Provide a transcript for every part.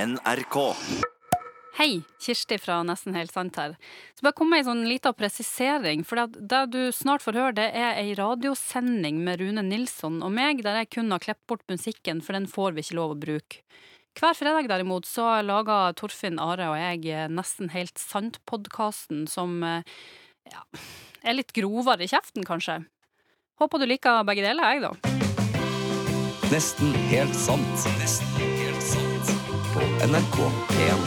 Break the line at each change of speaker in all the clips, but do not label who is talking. NRK.
Hei, Kirsti fra Nesten helt sant her. Så bare kom med en sånn liten presisering. For det, det du snart får høre, det er ei radiosending med Rune Nilsson og meg, der jeg kun har klippet bort musikken, for den får vi ikke lov å bruke. Hver fredag derimot så lager Torfinn Are og jeg eh, Nesten helt sant-podkasten, som eh, ja, er litt grovere i kjeften, kanskje. Håper du liker begge deler, jeg, da.
Nesten helt sant. Nesten helt sant. På NRK P1.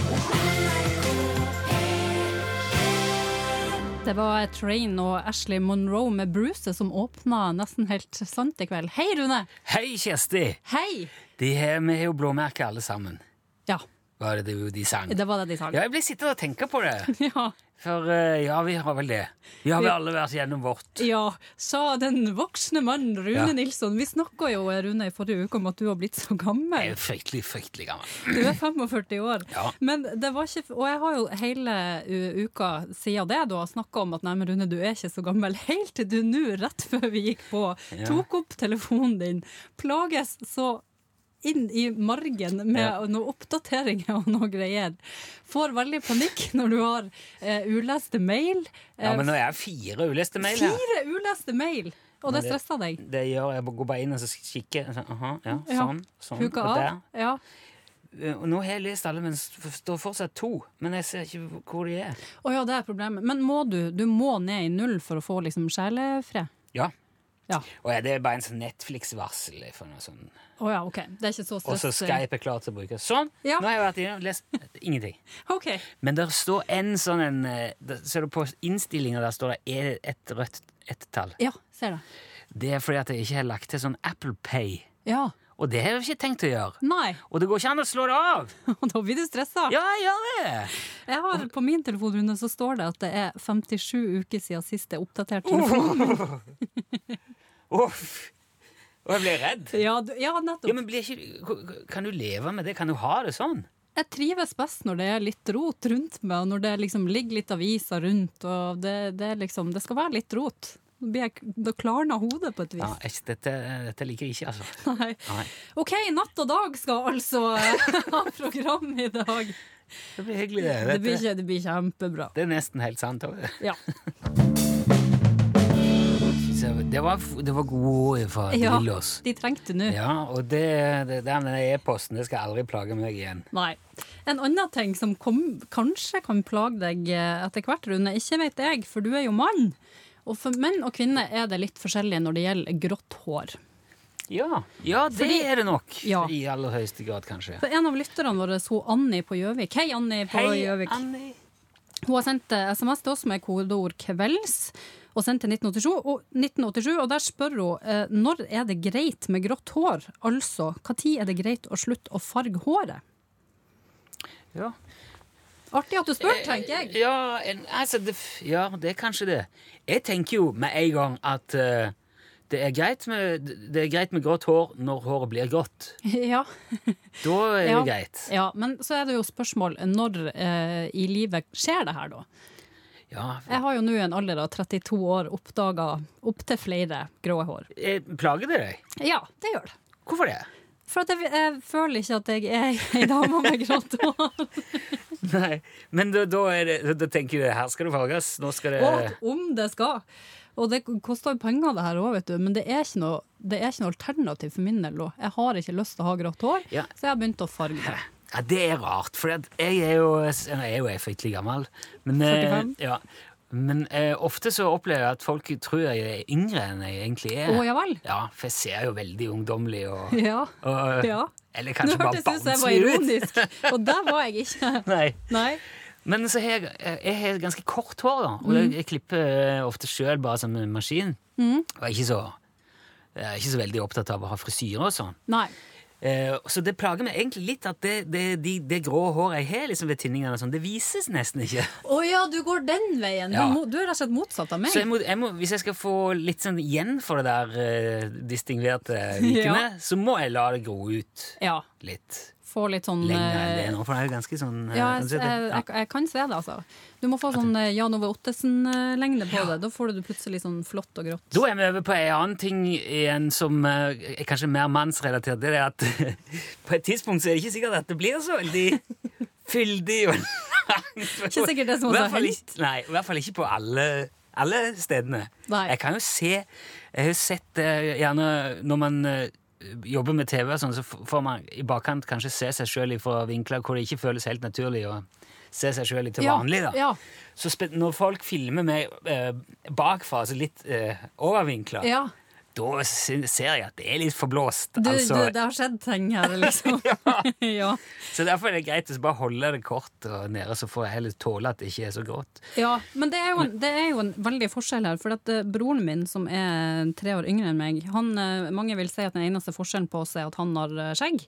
Det var Train og Ashley Monroe med Bruce som åpna nesten helt sant i kveld. Hei, Rune!
Hei, Kjersti!
Hei!
De her, vi har jo blåmerker alle sammen.
Ja,
Var det det jo de sang?
det var det de sa.
Ja, jeg ble sittende og tenke på det.
Ja.
For eh, ja, vi har vel det. Vi har vel alle vært gjennom vårt.
ja, sa den voksne mannen Rune
Ja.
Nilsson. Vi snakka jo Rune, i forrige uke om at du har blitt så
Jeg
gammel.
er eh, fryktelig, fryktelig gammel.
Du er 45 år.
Ja.
Men det var ikke, og jeg har jo hele u- uka siden det da snakka om at nei, men Rune, du er ikke så gammel. Helt til du nå, rett før vi gikk på,
Ja.
tok opp telefonen din, plages så inn i margen med
Ja.
noen oppdateringer og noe greier. Får veldig panikk når du har eh, uleste mail.
Ja,
Eh,
Men nå er jeg fire uleste mail her.
fire uleste mail! Og det
Men det-
stressa deg.
Det gjør jeg. Går bare inn og så kikker. Så, aha, ja,
Ja.
sånn, sånn.
Huka
og
av. Ja.
der. Eh, Og nå har jeg lest alle, men det står fortsatt to. Men jeg ser ikke hvor de er.
Å ja, det er problemet. Men må du, du må ned i null for å få liksom sjelefred?
Ja.
Ja.
Og ja, det er bare en sånn Netflix-varsel. for noe sånn.
Å ja, OK. Det er ikke så
Og
stress.
så Skype er klar til å bruke. Sånn!
Ja.
Nå har jeg vært inne og lest ingenting.
OK.
Men der står en sånn en eh, der- Ser du på innstillinga der står det er et rødt ett-tall.
Ja, ser det.
Det er fordi at jeg ikke har lagt til sånn Apple Pay.
Ja.
Og det har jeg ikke tenkt å gjøre.
Nei.
Og det går ikke an å slå det av!
Da blir du stressa.
Ja, jeg gjør det!
Jeg har På min telefonrunde så står det at det er 57 uker siden sist jeg oppdaterte telefonen.
Uff. Og jeg blir redd.
Ja, du, ja,
Ja,
nettopp.
men blir ikke, Kan du leve med det? Kan du ha det sånn?
Jeg trives best når det er litt rot rundt meg, og når det liksom ligger litt aviser rundt. og Det, det, er liksom, det skal være litt rot. Da blir jeg- Da klarner hodet på et vis.
Ja, jeg- dette, dette liker jeg ikke, altså.
Nei.
Nei.
OK, Natt og dag skal altså eh, ha program i dag.
Det blir hyggelig, det.
Det blir,
Dette,
ikke, det blir kjempebra.
det er nesten helt sant. også.
Ja.
Så Det var, det var gode ord fra
ja
Lillås.
de trengte nå.
Ja, og det, det, den e-posten det skal aldri plage meg igjen.
Nei. En annen ting som kom, kanskje kan plage deg eh, etter hvert, Rune, ikke vet jeg, for du er jo mann. Og for menn og kvinner er det litt forskjellig når det gjelder grått hår.
Ja, ja det
Fordi-
er det nok.
Ja.
I aller høyeste grad, kanskje.
For en av lytterne våre, hun Anni på Gjøvik Hei, Anni på Gjøvik.
Anni.
Hun har sendt eh, SMS til oss med kodeord 'kvelds' og sendt til 1987. Og, 1987, og der spør hun eh, når er det greit med grått hår? Altså, når er det greit å slutte å farge håret?
Ja,
Artig at du spør, tenker jeg.
ja, en, altså, det, ja, det er kanskje det. Jeg tenker jo med en gang at eh, det, er greit med, det er greit med grått hår når håret blir grått.
Ja.
Da er Eh, det
Ja.
greit.
Ja, men så er det jo spørsmål når eh, i livet skjer det her, da?
Ja,
Jeg har jo nå i en alder av 32 år oppdaga opptil flere grå hår.
jeg plager det deg?
Ja, det gjør det.
Hvorfor det?
For at jeg, jeg føler ikke at jeg er ei dame med grått
Eh.
hår.
Nei, men da, da, er det, da tenker du her skal det farges. Nå skal det
Og om det skal. Og det koster jo penger, det her òg, vet du. Men det er, ikke noe, det er ikke noe alternativ for min del nå. Jeg har ikke lyst til å ha grått hår,
Ja.
så jeg har begynt å farge det.
Ja, det er rart, for jeg er jo, jeg er jo fryktelig gammel. Men, eh,
45?
ja. men eh, ofte så opplever jeg at folk tror jeg er yngre enn jeg egentlig er.
Å, ja vel.
Ja, for jeg ser jo veldig ungdommelig og,
Ja.
og eh,
ja.
Eller
Nå
kanskje bare
hørtes det ut som jeg var
barnslig ut.
ironisk, og der var jeg ikke.
Nei.
Nei.
Men så har jeg, eh, jeg har ganske kort hår, da.
Mm.
Og jeg, jeg klipper eh, ofte sjøl bare som en maskin.
Mm.
Og jeg er ikke så, jeg er ikke så veldig opptatt av å ha frisyre og sånn.
Nei.
Eh, så det plager meg egentlig litt at det, det, de, det grå håret jeg har liksom ved tinningene, og sånn, det vises nesten ikke.
Å ja, du går den veien.
Ja.
Du, må, du er rett og slett motsatt av meg.
Så jeg må, jeg må, hvis jeg skal få litt sånn igjen for det der eh, distingverte vikene,
Ja.
så må jeg la det gro ut
Ja,
litt.
få litt sånn
lenger enn det
eh,
nå, for det er jo ganske sånn eh,
Ja,
kan
jeg,
du si det?
jeg,
Ja.
jeg, jeg kan se det, altså. Du må få sånn eh, Jan Ove Ottesen-lengde på det. Da får du det plutselig sånn flott og grått.
Da er vi over på en annen ting igjen som eh, er kanskje mer mannsrelatert. Det er at på et tidspunkt så er det ikke sikkert at det blir så veldig fyldig og langt.
Ikke sikkert det som
I hvert
har
fall
hendt.
ikke- Nei, i hvert fall ikke på alle, alle stedene.
Nei.
Jeg kan jo se Jeg har jo sett eh, gjerne når man eh, jobber med TV, og sånn, så f- får man i bakkant kanskje se seg sjøl fra vinkler hvor det ikke føles helt naturlig å se seg sjøl til vanlig. da.
Ja,
Så spe- når folk filmer meg eh, bakfra, altså litt eh, overvinkla,
ja.
da sy- ser jeg at det er litt forblåst.
Du,
altså.
du, det har skjedd ting her, liksom. ja.
Så derfor er det greit å så bare holde det kort og nede, så får jeg heller tåle at det ikke er så grått.
ja. Men det er, jo en, det er jo en veldig forskjell her. For at eh, broren min, som er tre år yngre enn meg, han, eh, mange vil si at den eneste forskjellen på oss er at han har eh, skjegg.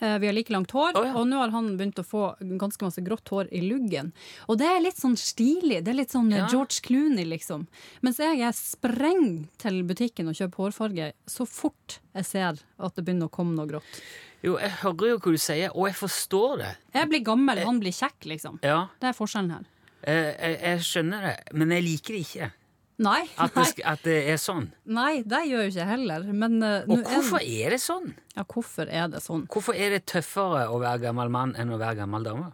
Eh, Vi har like langt hår,
Å, ja.
og nå har han begynt å få ganske masse grått hår i luggen. Og det er litt sånn stilig. Det er litt sånn eh,
Ja.
George Clooney, liksom. Mens jeg, jeg sprenger til butikken og kjøper hårfarge så fort jeg ser at det begynner å komme noe grått.
Jo, jeg hører jo hva du sier, og jeg forstår det.
Jeg blir gammel, han blir kjekk, liksom.
Ja,
Det er forskjellen her.
jeg, Eh, jeg, jeg skjønner det, men jeg liker det ikke.
Nei,
At det,
nei,
sk- at det er sånn.
nei, det gjør jo ikke jeg heller. Men eh, nå
Og
er-
hvorfor er det sånn?
Ja, hvorfor er det sånn?
Hvorfor er det tøffere å være gammel mann enn å være gammel dame?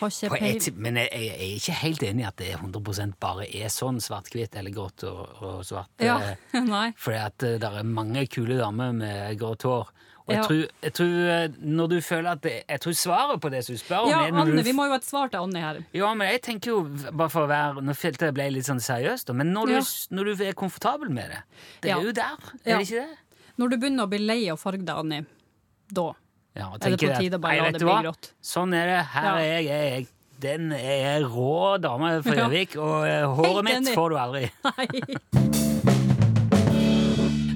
Har ikke
For jeg,
peil...
ti- men jeg, jeg jeg er ikke helt enig i at det 100 bare er sånn svart-hvitt eller grått og, og svart.
Ja,
eh,
nei.
Fordi at det er mange kule damer med grått hår. Og jeg,
Ja.
tror, jeg tror eh, når du føler at det, Jeg tror svaret på det som du spør om
Ja,
er når
Anne,
du,
vi må jo ha et svar til Anne her.
Ja, men jeg tenker jo, bare for å være Nå følte jeg ble litt sånn seriøs, da. Men når,
Ja.
du, s- når du er komfortabel med det Det
Ja.
er jo der, er
Ja.
det ikke det?
Når du begynner å bli lei av farge deg, Anni, da
Ja, og
Er det
tenker
på
at,
tide å bare
«Nei,
la
vet
det
du
bli
hva?
grått?»
Sånn er det. Her
Ja.
er jeg. jeg, jeg den er jeg rå dame fra
Ja.
Gjøvik, og eh, håret mitt
enig.
får du aldri.
Nei.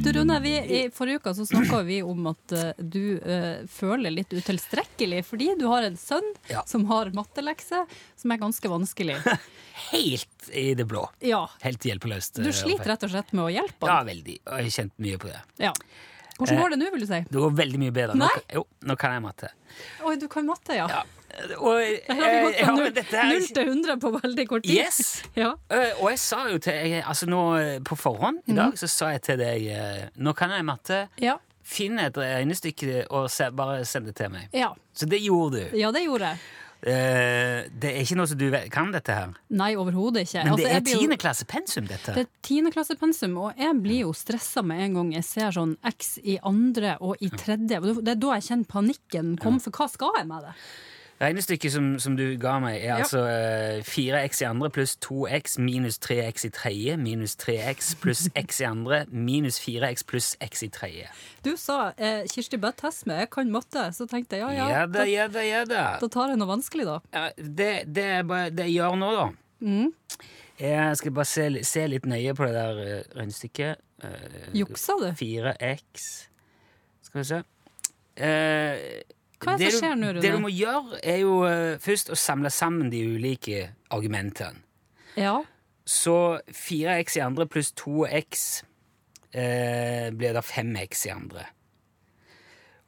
Du, Rune, vi, I forrige uke så snakka vi om at eh, du eh, føler litt utilstrekkelig fordi du har en sønn
Ja.
som har mattelekser som er ganske vanskelig.
Helt i det blå.
Ja.
Helt hjelpeløst. eh,
Du sliter rett og slett med å hjelpe
Ja,
han.
veldig. Og jeg har kjent mye på det.
Ja.
Eh.
Hvordan går det nå, vil du si?
Det går veldig mye bedre. Nå,
Nei?
jo, nå kan jeg matte.
Oi, du kan matte, ja.
Ja. Og, eh,
Her har vi gått fra
ja, men
null,
dette er-
null til 100 på veldig kort tid.
Yes!
Ja.
Eh, Og jeg sa jo til jeg, altså nå eh, På forhånd i dag så sa jeg til deg eh, Nå kan jeg matte.
Mhm. Ja.
Finn et regnestykke og se, bare send det til meg.
ja.
Så det gjorde du.
Ja, det gjorde jeg.
Eh, det er ikke noe som du vet, kan, dette her.
Nei, overhodet ikke.
Men
Altså,
det
jeg
er
blir jo-
tiendeklassepensum, dette.
Det er tiendeklassepensum, og jeg blir jo stressa med en gang jeg ser sånn X i andre og i tredje. Og Det er da jeg kjenner panikken komme, for hva skal jeg med det?
Regnestykket som, som du ga meg, er
Ja.
altså eh, 4x i andre pluss 2x minus 3x i tredje minus 3x pluss x i andre minus 4x pluss x i tredje.
Du sa eh, Kirsti Bøtt Hesme, jeg kan matte, så tenkte jeg ja ja,
Ja da, ja da, ja da.
da, da tar jeg noe vanskelig, da.
Ja, Det, det, er bare, det jeg gjør nå, da
Mm.
Jeg skal bare se, li- se litt nøye på det der eh, regnestykket. Eh,
Juksa du?
4x Skal vi se. Eh,
Hva er det som
du-
skjer nå, Rune?
Det du må gjøre, er jo eh, først å samle sammen de ulike argumentene.
Ja.
Så 4x i andre pluss 2x eh, blir da 5x i andre.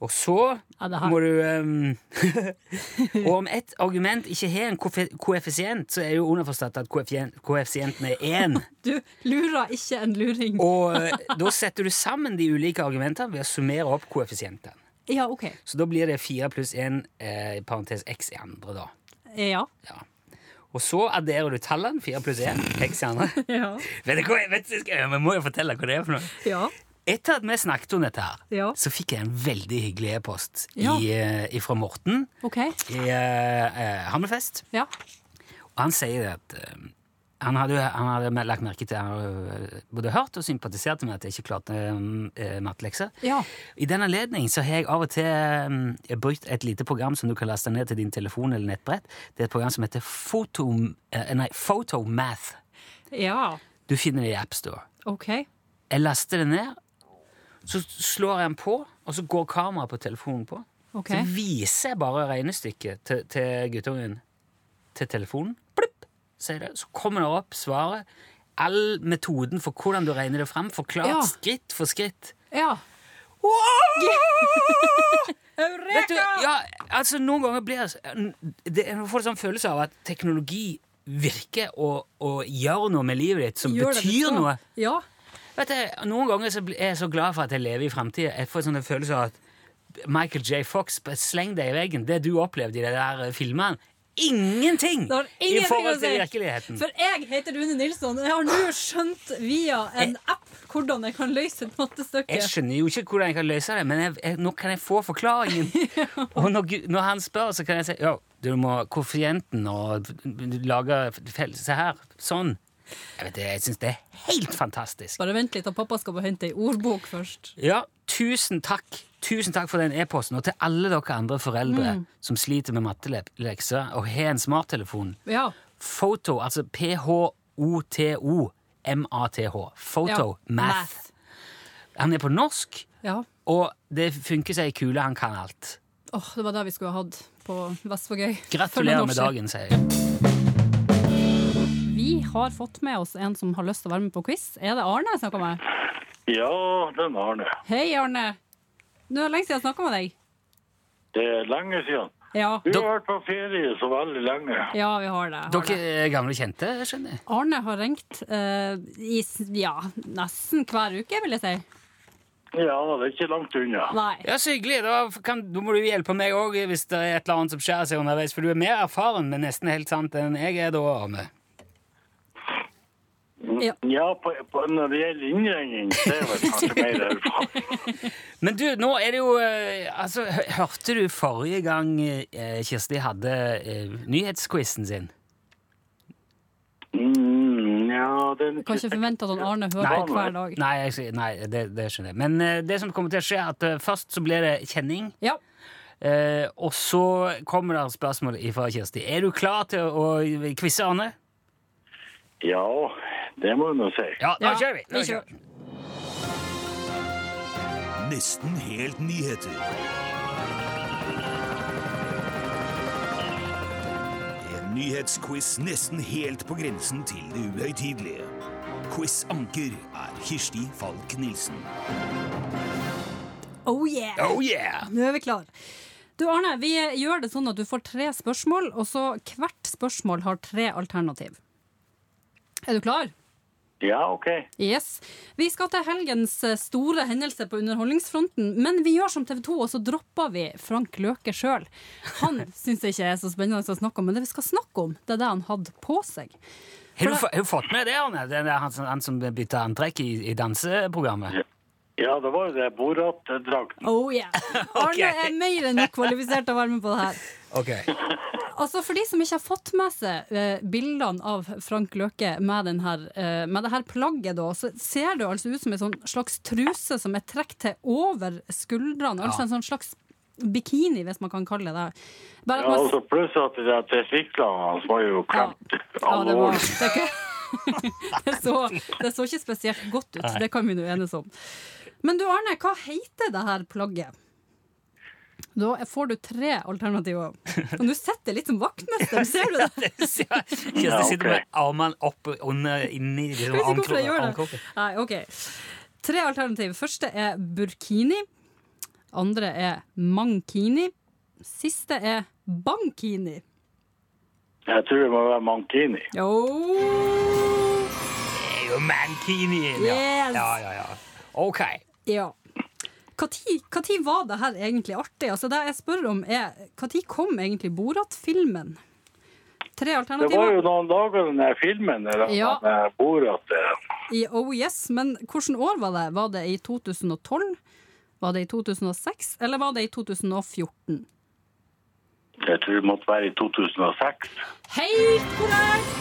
Og så
Ja, det her-
må du ehm, Og om et argument ikke har en kofe- koeffisient, så er jo underforstått at koeffien- koeffisienten er 1.
Du lurer ikke en luring.
Og eh, da setter du sammen de ulike argumentene ved å summere opp koeffisientene.
Ja, OK.
Så da blir det 4 pluss 1 eh, i parentes x i andre, da.
Ja.
Og så adderer du tallene. 4 pluss 1 x i andre.
Ja.
Vet du hva, jeg- vet, du- jeg må jo fortelle hva det er for noe.
ja.
Etter at vi snakket om dette her,
Ja.
så fikk jeg en veldig hyggelig e-post
Ja.
i, eh, fra Morten
OK.
i eh, eh, Hammerfest.
Ja.
Og han sier det at eh, han hadde, han hadde lagt merke til Han hadde eh, både hørt og sympatisert med at jeg ikke klarte eh, mattelekser.
Ja.
I den anledning så har jeg av og til eh, brukt et lite program som du kan laste ned til din telefon eller nettbrett. Det er et program som heter Photo, eh, nei, Photomath.
ja.
Du finner det i AppStore.
OK.
Jeg laster det ned, så slår jeg den på, og så går kameraet på telefonen på.
ok.
Så viser jeg bare regnestykket til, til guttungen til telefonen. Blipp, sier det. Så kommer det opp svaret. All metoden for hvordan du regner det fram, forklart
Ja.
skritt for skritt.
Ja.
Vet du, ja, altså Noen ganger blir jeg- det, jeg får en sånn følelse av at teknologi virker og, og gjør noe med livet ditt som
Gjør det du
betyr
skal.
noe.
Ja.
Vet du, Noen ganger så blir- er jeg så glad for at jeg lever i framtida. Jeg får sånn en følelse av at Michael J. Fox, bare sleng deg i veggen. Det du opplevde i de der eh, filmene, ingenting
Det har
i
ingenting å
forhold til
si.
virkeligheten.
For jeg heter Rune Nilsson, og jeg har nå skjønt via en app hvordan jeg kan løse et
Jeg
mattestykke.
skjønner jo ikke hvordan jeg kan løse det, men jeg, jeg, nå kan jeg få forklaringen. Og når, Gud- når han spør, så kan jeg si ja, du må koeffisienten og du lager fel- Se her. Sånn. Jeg, vet det, jeg syns det er helt fantastisk.
Bare vent litt, og pappa skal på hente ei ordbok først.
Ja, tusen takk. Tusen takk for den e-posten, og til alle dere andre foreldre som sliter med mattelekser og har en smarttelefon.
Ja.
Photo, altså P-H-O-T-O. M-A-T-H. Photo.
ja.
Math. Han er på norsk.
Ja.
Og det funker seg i kule, han kan alt.
Åh, det var det vi skulle ha hatt på Vestvågøy. for noen
Gratulerer
år
med
siden.
dagen, sier jeg.
Vi har fått med oss en som har lyst til å være med på quiz. Er det Arne jeg snakker med?
Ja, den har det.
Hei, Arne. Nå er det lenge siden jeg snakka med deg.
Det er lenge siden.
Ja,
Du
Da-
har vært på ferie så veldig lenge.
ja vi har det.
Dere er gamle kjente, skjønner jeg.
Arne har ringt eh, i s- ja, nesten hver uke, vil jeg si.
Ja, det er ikke langt unna.
Nei.
Ja, Så hyggelig. Da, kan, da må du hjelpe meg òg hvis det er et eller annet som skjer seg underveis. For du er mer erfaren, men nesten helt sant, enn jeg er da, Arne.
Ja.
Ja, på, på, når det gjelder innringning, det er vel kanskje mer erfaring.
Men du, nå er det jo eh, Altså, hø- hørte du forrige gang eh, Kirsti hadde eh, nyhetsquizen sin?
Mm, ja, den...
Kan ikke forvente at han Arne hører
Nei.
på hver dag.
Nei, jeg, sier- nei det, det skjønner jeg. Men eh, det som kommer til å skje, er at eh, først så blir det kjenning.
Ja.
Eh, og så kommer det spørsmål fra Kirsti. Er du klar til å å quize, Arne?
Ja, det må jeg nå si.
Ja, da
Ja,
kjører vi! Da
vi
kjører. vi.
Nesten helt nyheter. En nyhetsquiz nesten helt på grensen til det uhøytidelige. Quiz-anker er Kirsti Falk Nilsen.
Oh yeah!
Oh yeah!
Nå er vi klar.
Du Arne, vi gjør det sånn at du får tre spørsmål, og så hvert spørsmål har tre alternativ. Er du klar?
Ja, ok.
Yes. Vi skal til helgens eh, store hendelse på underholdningsfronten, men vi gjør som TV 2, og så dropper vi Frank Løke sjøl. Han syns det ikke er så spennende å snakke om, men det vi skal snakke om, det er det han hadde på seg.
Har du, fa- har du fått med det, Arne? Det er han, som- han som bytta antrekk i, i danseprogrammet?
Ja, det var jo det borat-drakten.
Oh yeah.
Ok.
Arne er mer enn nok kvalifisert til å være med på det her.
Ok.
Altså For de som ikke har fått med seg eh, bildene av Frank Løke med, den her, eh, med det her plagget, da, så ser det jo altså ut som en sånn slags truse som er trukket til over skuldrene. Altså en sånn slags bikini, hvis man kan kalle det det. Bare
Ja,
at man-
altså pluss at det der testiklene hans var jo klemt
ja, det var
alvorlig.
det, er ikke- det, så, det så ikke spesielt godt ut, det kan vi nå enes om. Men du Arne, hva heter det her plagget? Da får du tre alternativer. Og nå sitter jeg litt som vaktmester, ser du det?
Kirsti
Ja,
sitter
ok.
med armene opp og under inni liksom,
Jeg vet ikke hvorfor jeg gjør
armkroken.
det. Nei, ok. Tre alternativ. Første er burkini. Andre er mankini. Siste er bankini.
Jeg tror det må være mankini.
Jo.
Det er jo mankini! Ja.
Yes.
ja, ja, ja. Ok.
Ja. Når var det her egentlig artig? Altså, det jeg spør om er, Når kom egentlig Borat-filmen? Tre
Det var
alternativer.
jo noen dager den der filmen, eller
Ja.
den der borat eh,
I Oh Yes, men hvilket år var det? Var det i 2012? Var det i 2006? Eller var det i 2014?
Jeg tror det måtte være i 2006.
Helt korrekt!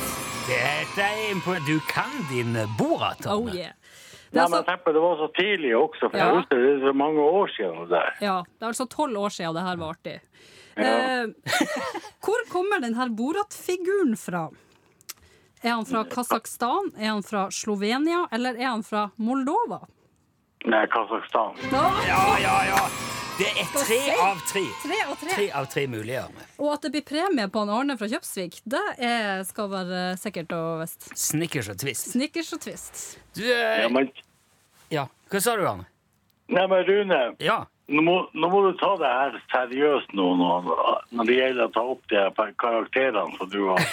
Dette er imponerende. Du kan din Borat,
Oh
Arne.
yeah. Det
Nei,
er
men jeg
altså,
tenker det var så tidlig også, for
Ja.
jeg husker det er så mange år siden det der.
ja, det er altså tolv år siden det her var artig. Eh, hvor kommer den her Borat-figuren fra? Er han fra Kasakhstan, er han fra Slovenia, eller er han fra Moldova?
Nei, Kasakhstan.
Ja,
Ja, ja, ja. Det er tre
se.
av tre.
tre og tre.
Tre av tre mulige, Arne.
Og at det blir premie på han Arne fra Kjøpsvik, det er, skal være sikkert og visst.
Snickers og Twist.
Snickers og twist.
Du, eh,
Ja, men
ja. Hva sa du, Arne?
Nei, men Rune,
Ja.
nå må, nå må du ta det her seriøst nå, nå, når det gjelder å ta opp de her par- karakterene som du har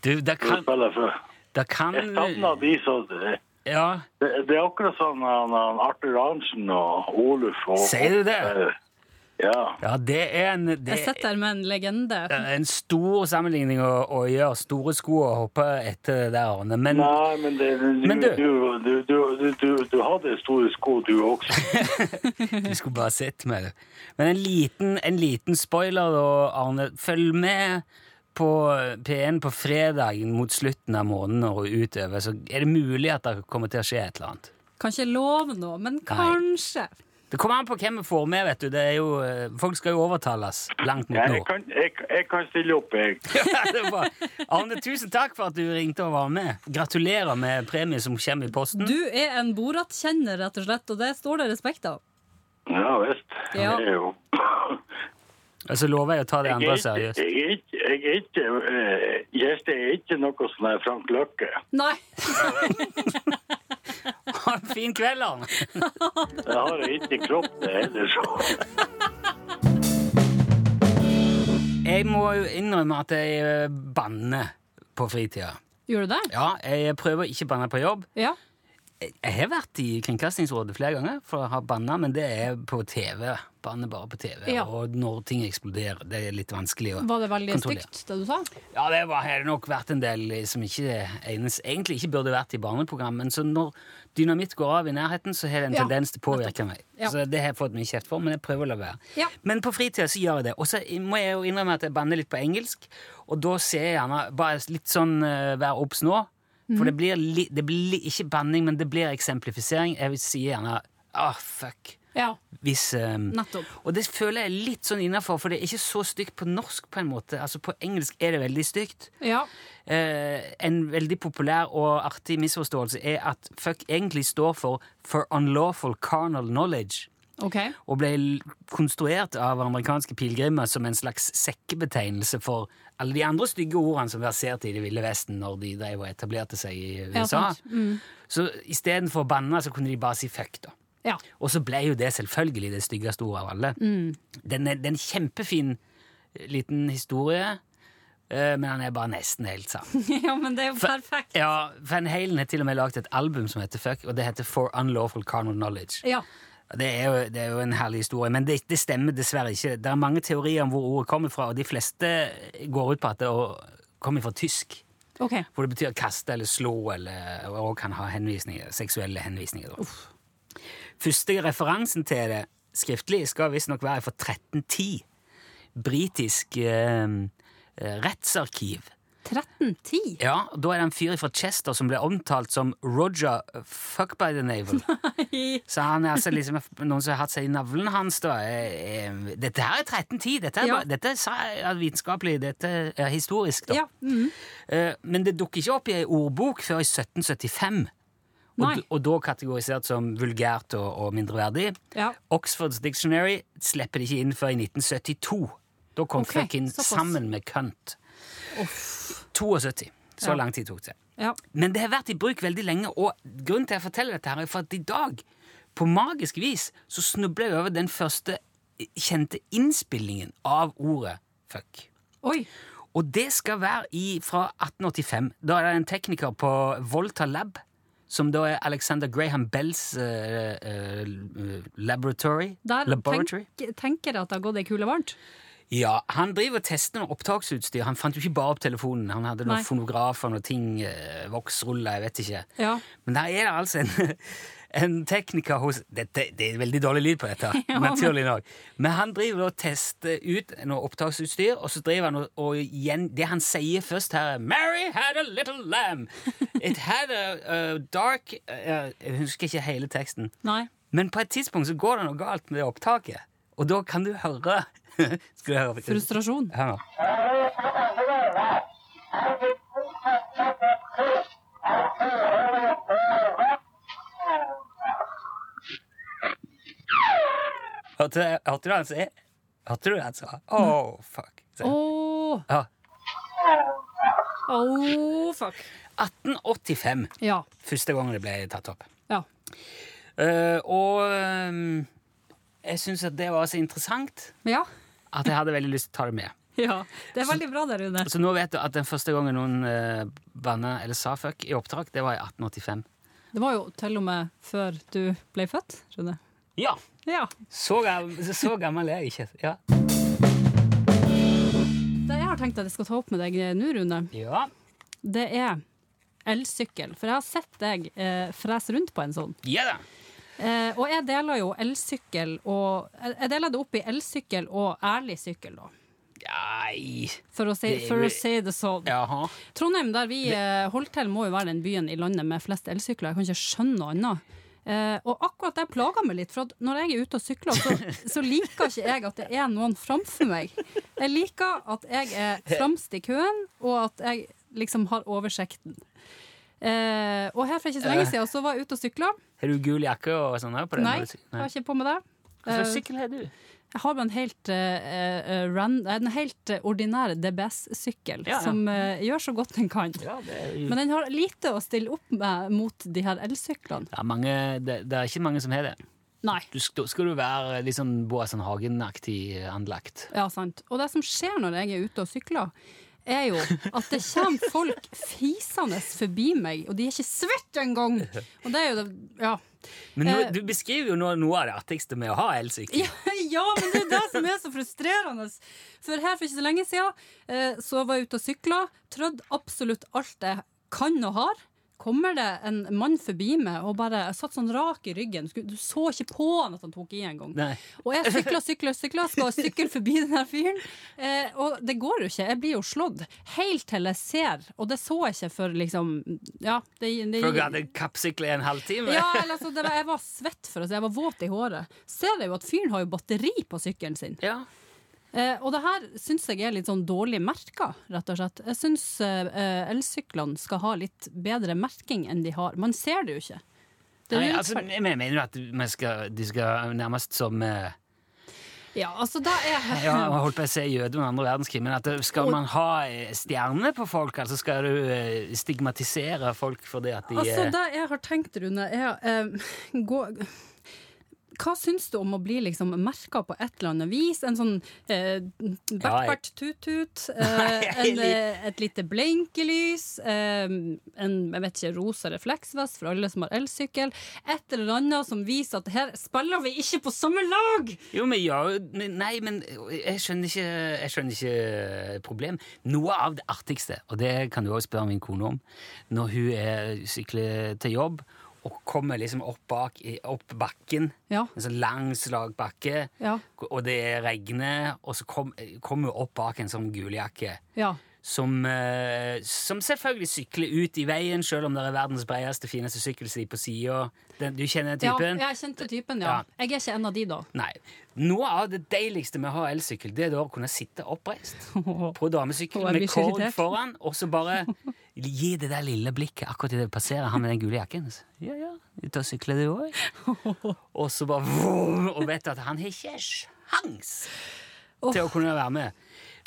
Du, det
du
kan,
spiller før.
det kan
Jeg savner de som det,
Ja.
det er akkurat sånn han, han Arthur Arntzen og Oluf og
Sier du det?
Eh, Ja.
ja, det er en det
Jeg sitter her med en legende.
er en stor sammenligning å, å gjøre. Store sko å hoppe etter der, Arne. Men
Nei, men, det, du,
Men du-
du, du, du, du, du, du hadde store sko, du også.
Du skulle bare sett meg, du. Men en liten, en liten spoiler, da, Arne. Følg med på P1 på fredag mot slutten av måneden og utover, så er det mulig at det kommer til å skje et eller annet.
Kan ikke love noe, men kanskje.
Det kommer an på hvem vi får med, vet du. Det er jo, eh, folk skal jo overtales langt mot
Jeg
nord.
kan, jeg, jeg kan stille opp, jeg.
Ja, det er bra. Arne, tusen takk for at du ringte og var med. Gratulerer med premie som kommer i posten.
Du er en Borat-kjenner, rett og slett, og det står det respekt av.
Ja visst.
Ja.
Jeg er jo
Og så lover jeg å ta det
Jeg
andre
er ikke,
seriøst.
jeg er ikke, jeg er ikke, eh, Gjeste er ikke noe sånn her Frank Løkke.
Nei!
Ha en fin kveld, Arne.
Det har jeg ikke i kropp det heller, så.
Jeg må jo innrømme at jeg eh, banner på fritida.
Gjør du det?
Ja, jeg prøver å ikke banne på jobb.
Ja.
Jeg jeg har vært i Kringkastingsrådet flere ganger for å ha banna, men det er på TV. Banne bare på TV.
Ja.
Og når ting eksploderer, det er litt vanskelig å
Var det veldig
Kontroller.
stygt, det du sa?
Ja, det var, har det nok vært en del eh, som ikke egnes, egentlig ikke burde vært i barneprogram, men så når dynamitt går av i nærheten, så har det en
Ja,
tendens til å påvirke meg. Så det har jeg fått mye kjeft for, men jeg prøver å la være.
Ja.
Men på fritida så gjør jeg det. Og så må jeg jo innrømme at jeg banner litt på engelsk, og da ser jeg gjerne bare litt sånn eh, vær obs nå. For
Mhm.
det blir, li, det blir li, ikke banning, men det blir eksemplifisering. Jeg sier gjerne ah, fuck.
Ja.
Hvis, eh,
Nettopp.
Og det føler jeg litt sånn innafor, for det er ikke så stygt på norsk. på en måte. Altså På engelsk er det veldig stygt.
Ja.
Eh, en veldig populær og artig misforståelse er at fuck egentlig står for for unlawful carnal knowledge.
OK.
Og ble l- konstruert av amerikanske pilegrimer som en slags sekkebetegnelse for alle de andre stygge ordene som verserte i Det ville vesten når de drev og etablerte seg i
Ja,
USA.
sant. Mm.
Så istedenfor å banne, så kunne de bare si fuck, da.
Ja.
Og så ble jo det selvfølgelig det styggeste ordet av alle.
Mm.
Den, er, det er en kjempefin eh, liten historie, eh, men den er bare nesten helt sann.
Ja, men det er jo perfekt.
Ja, Van Halen har til og med laget et album som heter Fuck, og det heter For Unlawful Carnal Knowledge.
Ja.
Og Det er, jo, det er jo en herlig historie, men det, det stemmer dessverre ikke. Det er mange teorier om hvor ordet kommer fra, og de fleste går ut på at det å- kommer fra tysk.
OK.
Hvor det betyr kaste eller slå, eller og kan ha henvisninger, seksuelle henvisninger. Da. Første referansen til det skriftlig skal visstnok være fra 1310. Britisk eh, eh, rettsarkiv.
1310?
Ja, og Da er det en fyr fra Chester som ble omtalt som Roger Fuck by the Navel. Så han er altså liksom noen som har hatt seg i navlen hans, da. Eh, eh, Dette her er 1310! Dette er,
Ja.
bare- dette er sa- vitenskapelig, dette er historisk, da.
Ja.
Mm.
mhm.
Eh, Men det dukker ikke opp i ei ordbok før i 1775.
Nei.
Og, d- og da kategorisert som vulgært og, og mindreverdig.
Ja.
Oxfords Dictionary slipper det ikke inn før i 1972. Da kom
Ok,
fuck inn
såpass.
sammen med cunt. 72. Så
Ja.
lang tid tok det.
Ja.
Men det har vært i bruk veldig lenge, og grunnen til at jeg forteller dette her er for at i dag, på magisk vis, så snubler jeg over den første eh, kjente innspillingen av ordet fuck.
Oi.
Og det skal være i, fra 1885. Da er det en tekniker på Volta Lab, som da er Alexander Graham Bells eh, eh, laboratory.
Der
laboratory.
tenk, tenker jeg at det har gått ei kule varmt.
Ja, Han driver og tester noe opptaksutstyr. Han fant jo ikke bare opp telefonen. Han hadde
Nei.
noen fonografer og noen ting. eh, voksruller, jeg vet ikke.
Ja.
Men der er det altså en, en tekniker hos dette, Det er veldig dårlig lyd på dette, naturlig nok. Men han driver da og tester ut noe opptaksutstyr, og så driver han og, og igjen, Det han sier først her, er Mary had a little lamb. It had a, a dark uh, Jeg husker ikke hele teksten.
Nei.
Men på et tidspunkt så går det noe galt med det opptaket, og da kan du høre Skal du høre?
Frustrasjon.
Hør nå. Hørte, hørte du han si? Hørte du det han sa? Oh, fuck. Se.
Åh,
Ja.
Oh, fuck.
1885.
ja.
Første gang det ble tatt opp.
Ja.
Eh, og ehm, jeg syns at det var så interessant
Ja.
at jeg hadde veldig lyst til å ta det med.
Ja, Det er veldig bra der, Rune.
Så nå vet du at den første gangen noen eh, banna eller sa fuck i oppdrag, det var i 1885.
Det var jo til og med før du ble født, Rune.
Ja!
Ja.
Så, gam- så gammel er jeg ikke. Ja.
Det jeg har tenkt at jeg skal ta opp med deg nå, Rune,
ja.
det er elsykkel. For jeg har sett deg eh, frese rundt på en sånn.
Ja da.
Eh, og jeg deler jo elsykkel og Jeg jeg deler det opp i elsykkel og ærlig sykkel, da.
Nei
For å si,
Det er
for
jo-
å si det sånn.
Jaha.
Trondheim, der vi eh, holder til, må jo være den byen i landet med flest elsykler. Jeg kan ikke skjønne noe annet. Eh, og akkurat det plager meg litt, for at når jeg er ute og sykler, så, så liker ikke jeg at det er noen framfor meg. Jeg liker at jeg er fremst i køen, og at jeg liksom har oversikten. Eh, og her for ikke så lenge siden så var jeg ute og sykla.
Har du gul jakke og sånn her på den?
Nei,
Når du sy-
jeg har ikke på meg det.
Hva
Eh,
slags sykkel har du?
Jeg har bare en helt, eh, eh, ran- en helt eh, ordinær DBS-sykkel
Ja, ja.
som eh, gjør så godt den kan.
Ja, det er jo...
Men den har lite å stille opp med mot de her elsyklene.
det, er mange, det, det er ikke mange som har det.
Nei.
Du, sk- da skal du være litt sånn Boasson Hagen-aktig anlagt.
Ja, sant. Og det som skjer når jeg er ute og sykler, er jo at det kommer folk fisende forbi meg, og de er ikke svette engang! Og det er jo det Ja.
Men nå,
Eh.
du beskriver jo nå noe av det artigste med å ha elsykkel.
Ja, ja, men det er det som er så frustrerende. For her for ikke så lenge siden eh, så var jeg ute og sykla, trødd absolutt alt jeg kan og har. Kommer det en mann forbi meg og bare jeg satt sånn rak i ryggen. Skulle- Du så ikke på han at han tok i engang.
Nei.
Og jeg sykler, sykler, sykler, skal sykle forbi den her fyren. Eh, og det går jo ikke. Jeg blir jo slått. Helt til jeg ser, og det så jeg ikke for liksom Ja, det, det
For du hadde kappsykle i en halvtime.
ja, eller altså, det var, jeg var svett for det, så jeg var våt i håret. Ser jeg jo at fyren har jo batteri på sykkelen sin.
Ja.
Eh, og det her syns jeg er litt sånn dårlig merka, rett og slett. Jeg syns eh, eh, elsyklene skal ha litt bedre merking enn de har. Man ser det jo ikke. Det er
Nei,
jo
altså,
urettferdig.
jeg mener jo at man skal, de skal nærmest som eh,
ja, altså, da er
Ja, jeg holdt på å si jøde under andre verdenskrig, men at det- skal man ha eh, stjerne på folk, altså skal du eh, stigmatisere folk for det at de
Altså,
eh,
det jeg har tenkt, Rune, er eh, gå, Hva syns du om å bli liksom merka på et eller annet vis? En sånn eh, bert-bert tut-tut, eh,
Nei, jeg
en, eh, et lite blinkelys, eh, en jeg vet ikke, rosa refleksvest for alle som har elsykkel. Et eller annet som viser at her spiller vi ikke på samme lag!
Jo, men ja, nei, men jeg skjønner ikke, jeg skjønner ikke eh, problem. Noe av det artigste, og det kan du også spørre min kone om, når hun er, sykler til jobb og kommer liksom opp, bak, i- opp bakken,
Ja.
en sånn lang slagbakke,
Ja.
og det regner, og så kom- kommer hun opp bak en sånn guljakke.
Ja.
Som, eh, som selvfølgelig sykler ut i veien, selv om det er verdens bredeste, fineste sykkelsti på sida. Du kjenner
ja
typen?
jeg kjente typen, ja.
Ja.
Jeg er ikke en av de, da.
Nei. Noe av det deiligste med å ha elsykkel, det er da å kunne sitte oppreist på damesykkel
Åh, jeg
med
blir så
kord
irritert.
foran, og så bare gi det der lille blikket akkurat idet du passerer han med den gule jakken. Så, Ja, ja, ut og sykle du òg? Og så bare vroom, Og vet at han har ikke sjans til å kunne være med.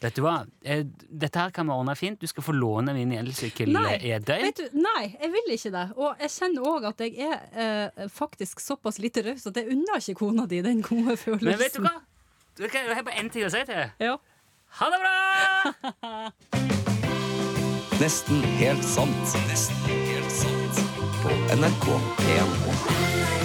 Vet du hva? Eh, Dette her kan vi ordne fint. Du skal få låne min elsykkel
Nei,
i et døgn.
vet du, nei, jeg vil ikke det. Og jeg kjenner òg at jeg er eh, faktisk såpass lite raus at jeg unner ikke kona di den gode følelsen.
Men vet du hva? Du kan- Jeg har bare én ting å si til deg.
Ja.
Ha det bra!
Nesten helt sant. Nesten helt sant. På NRK P1.
NRK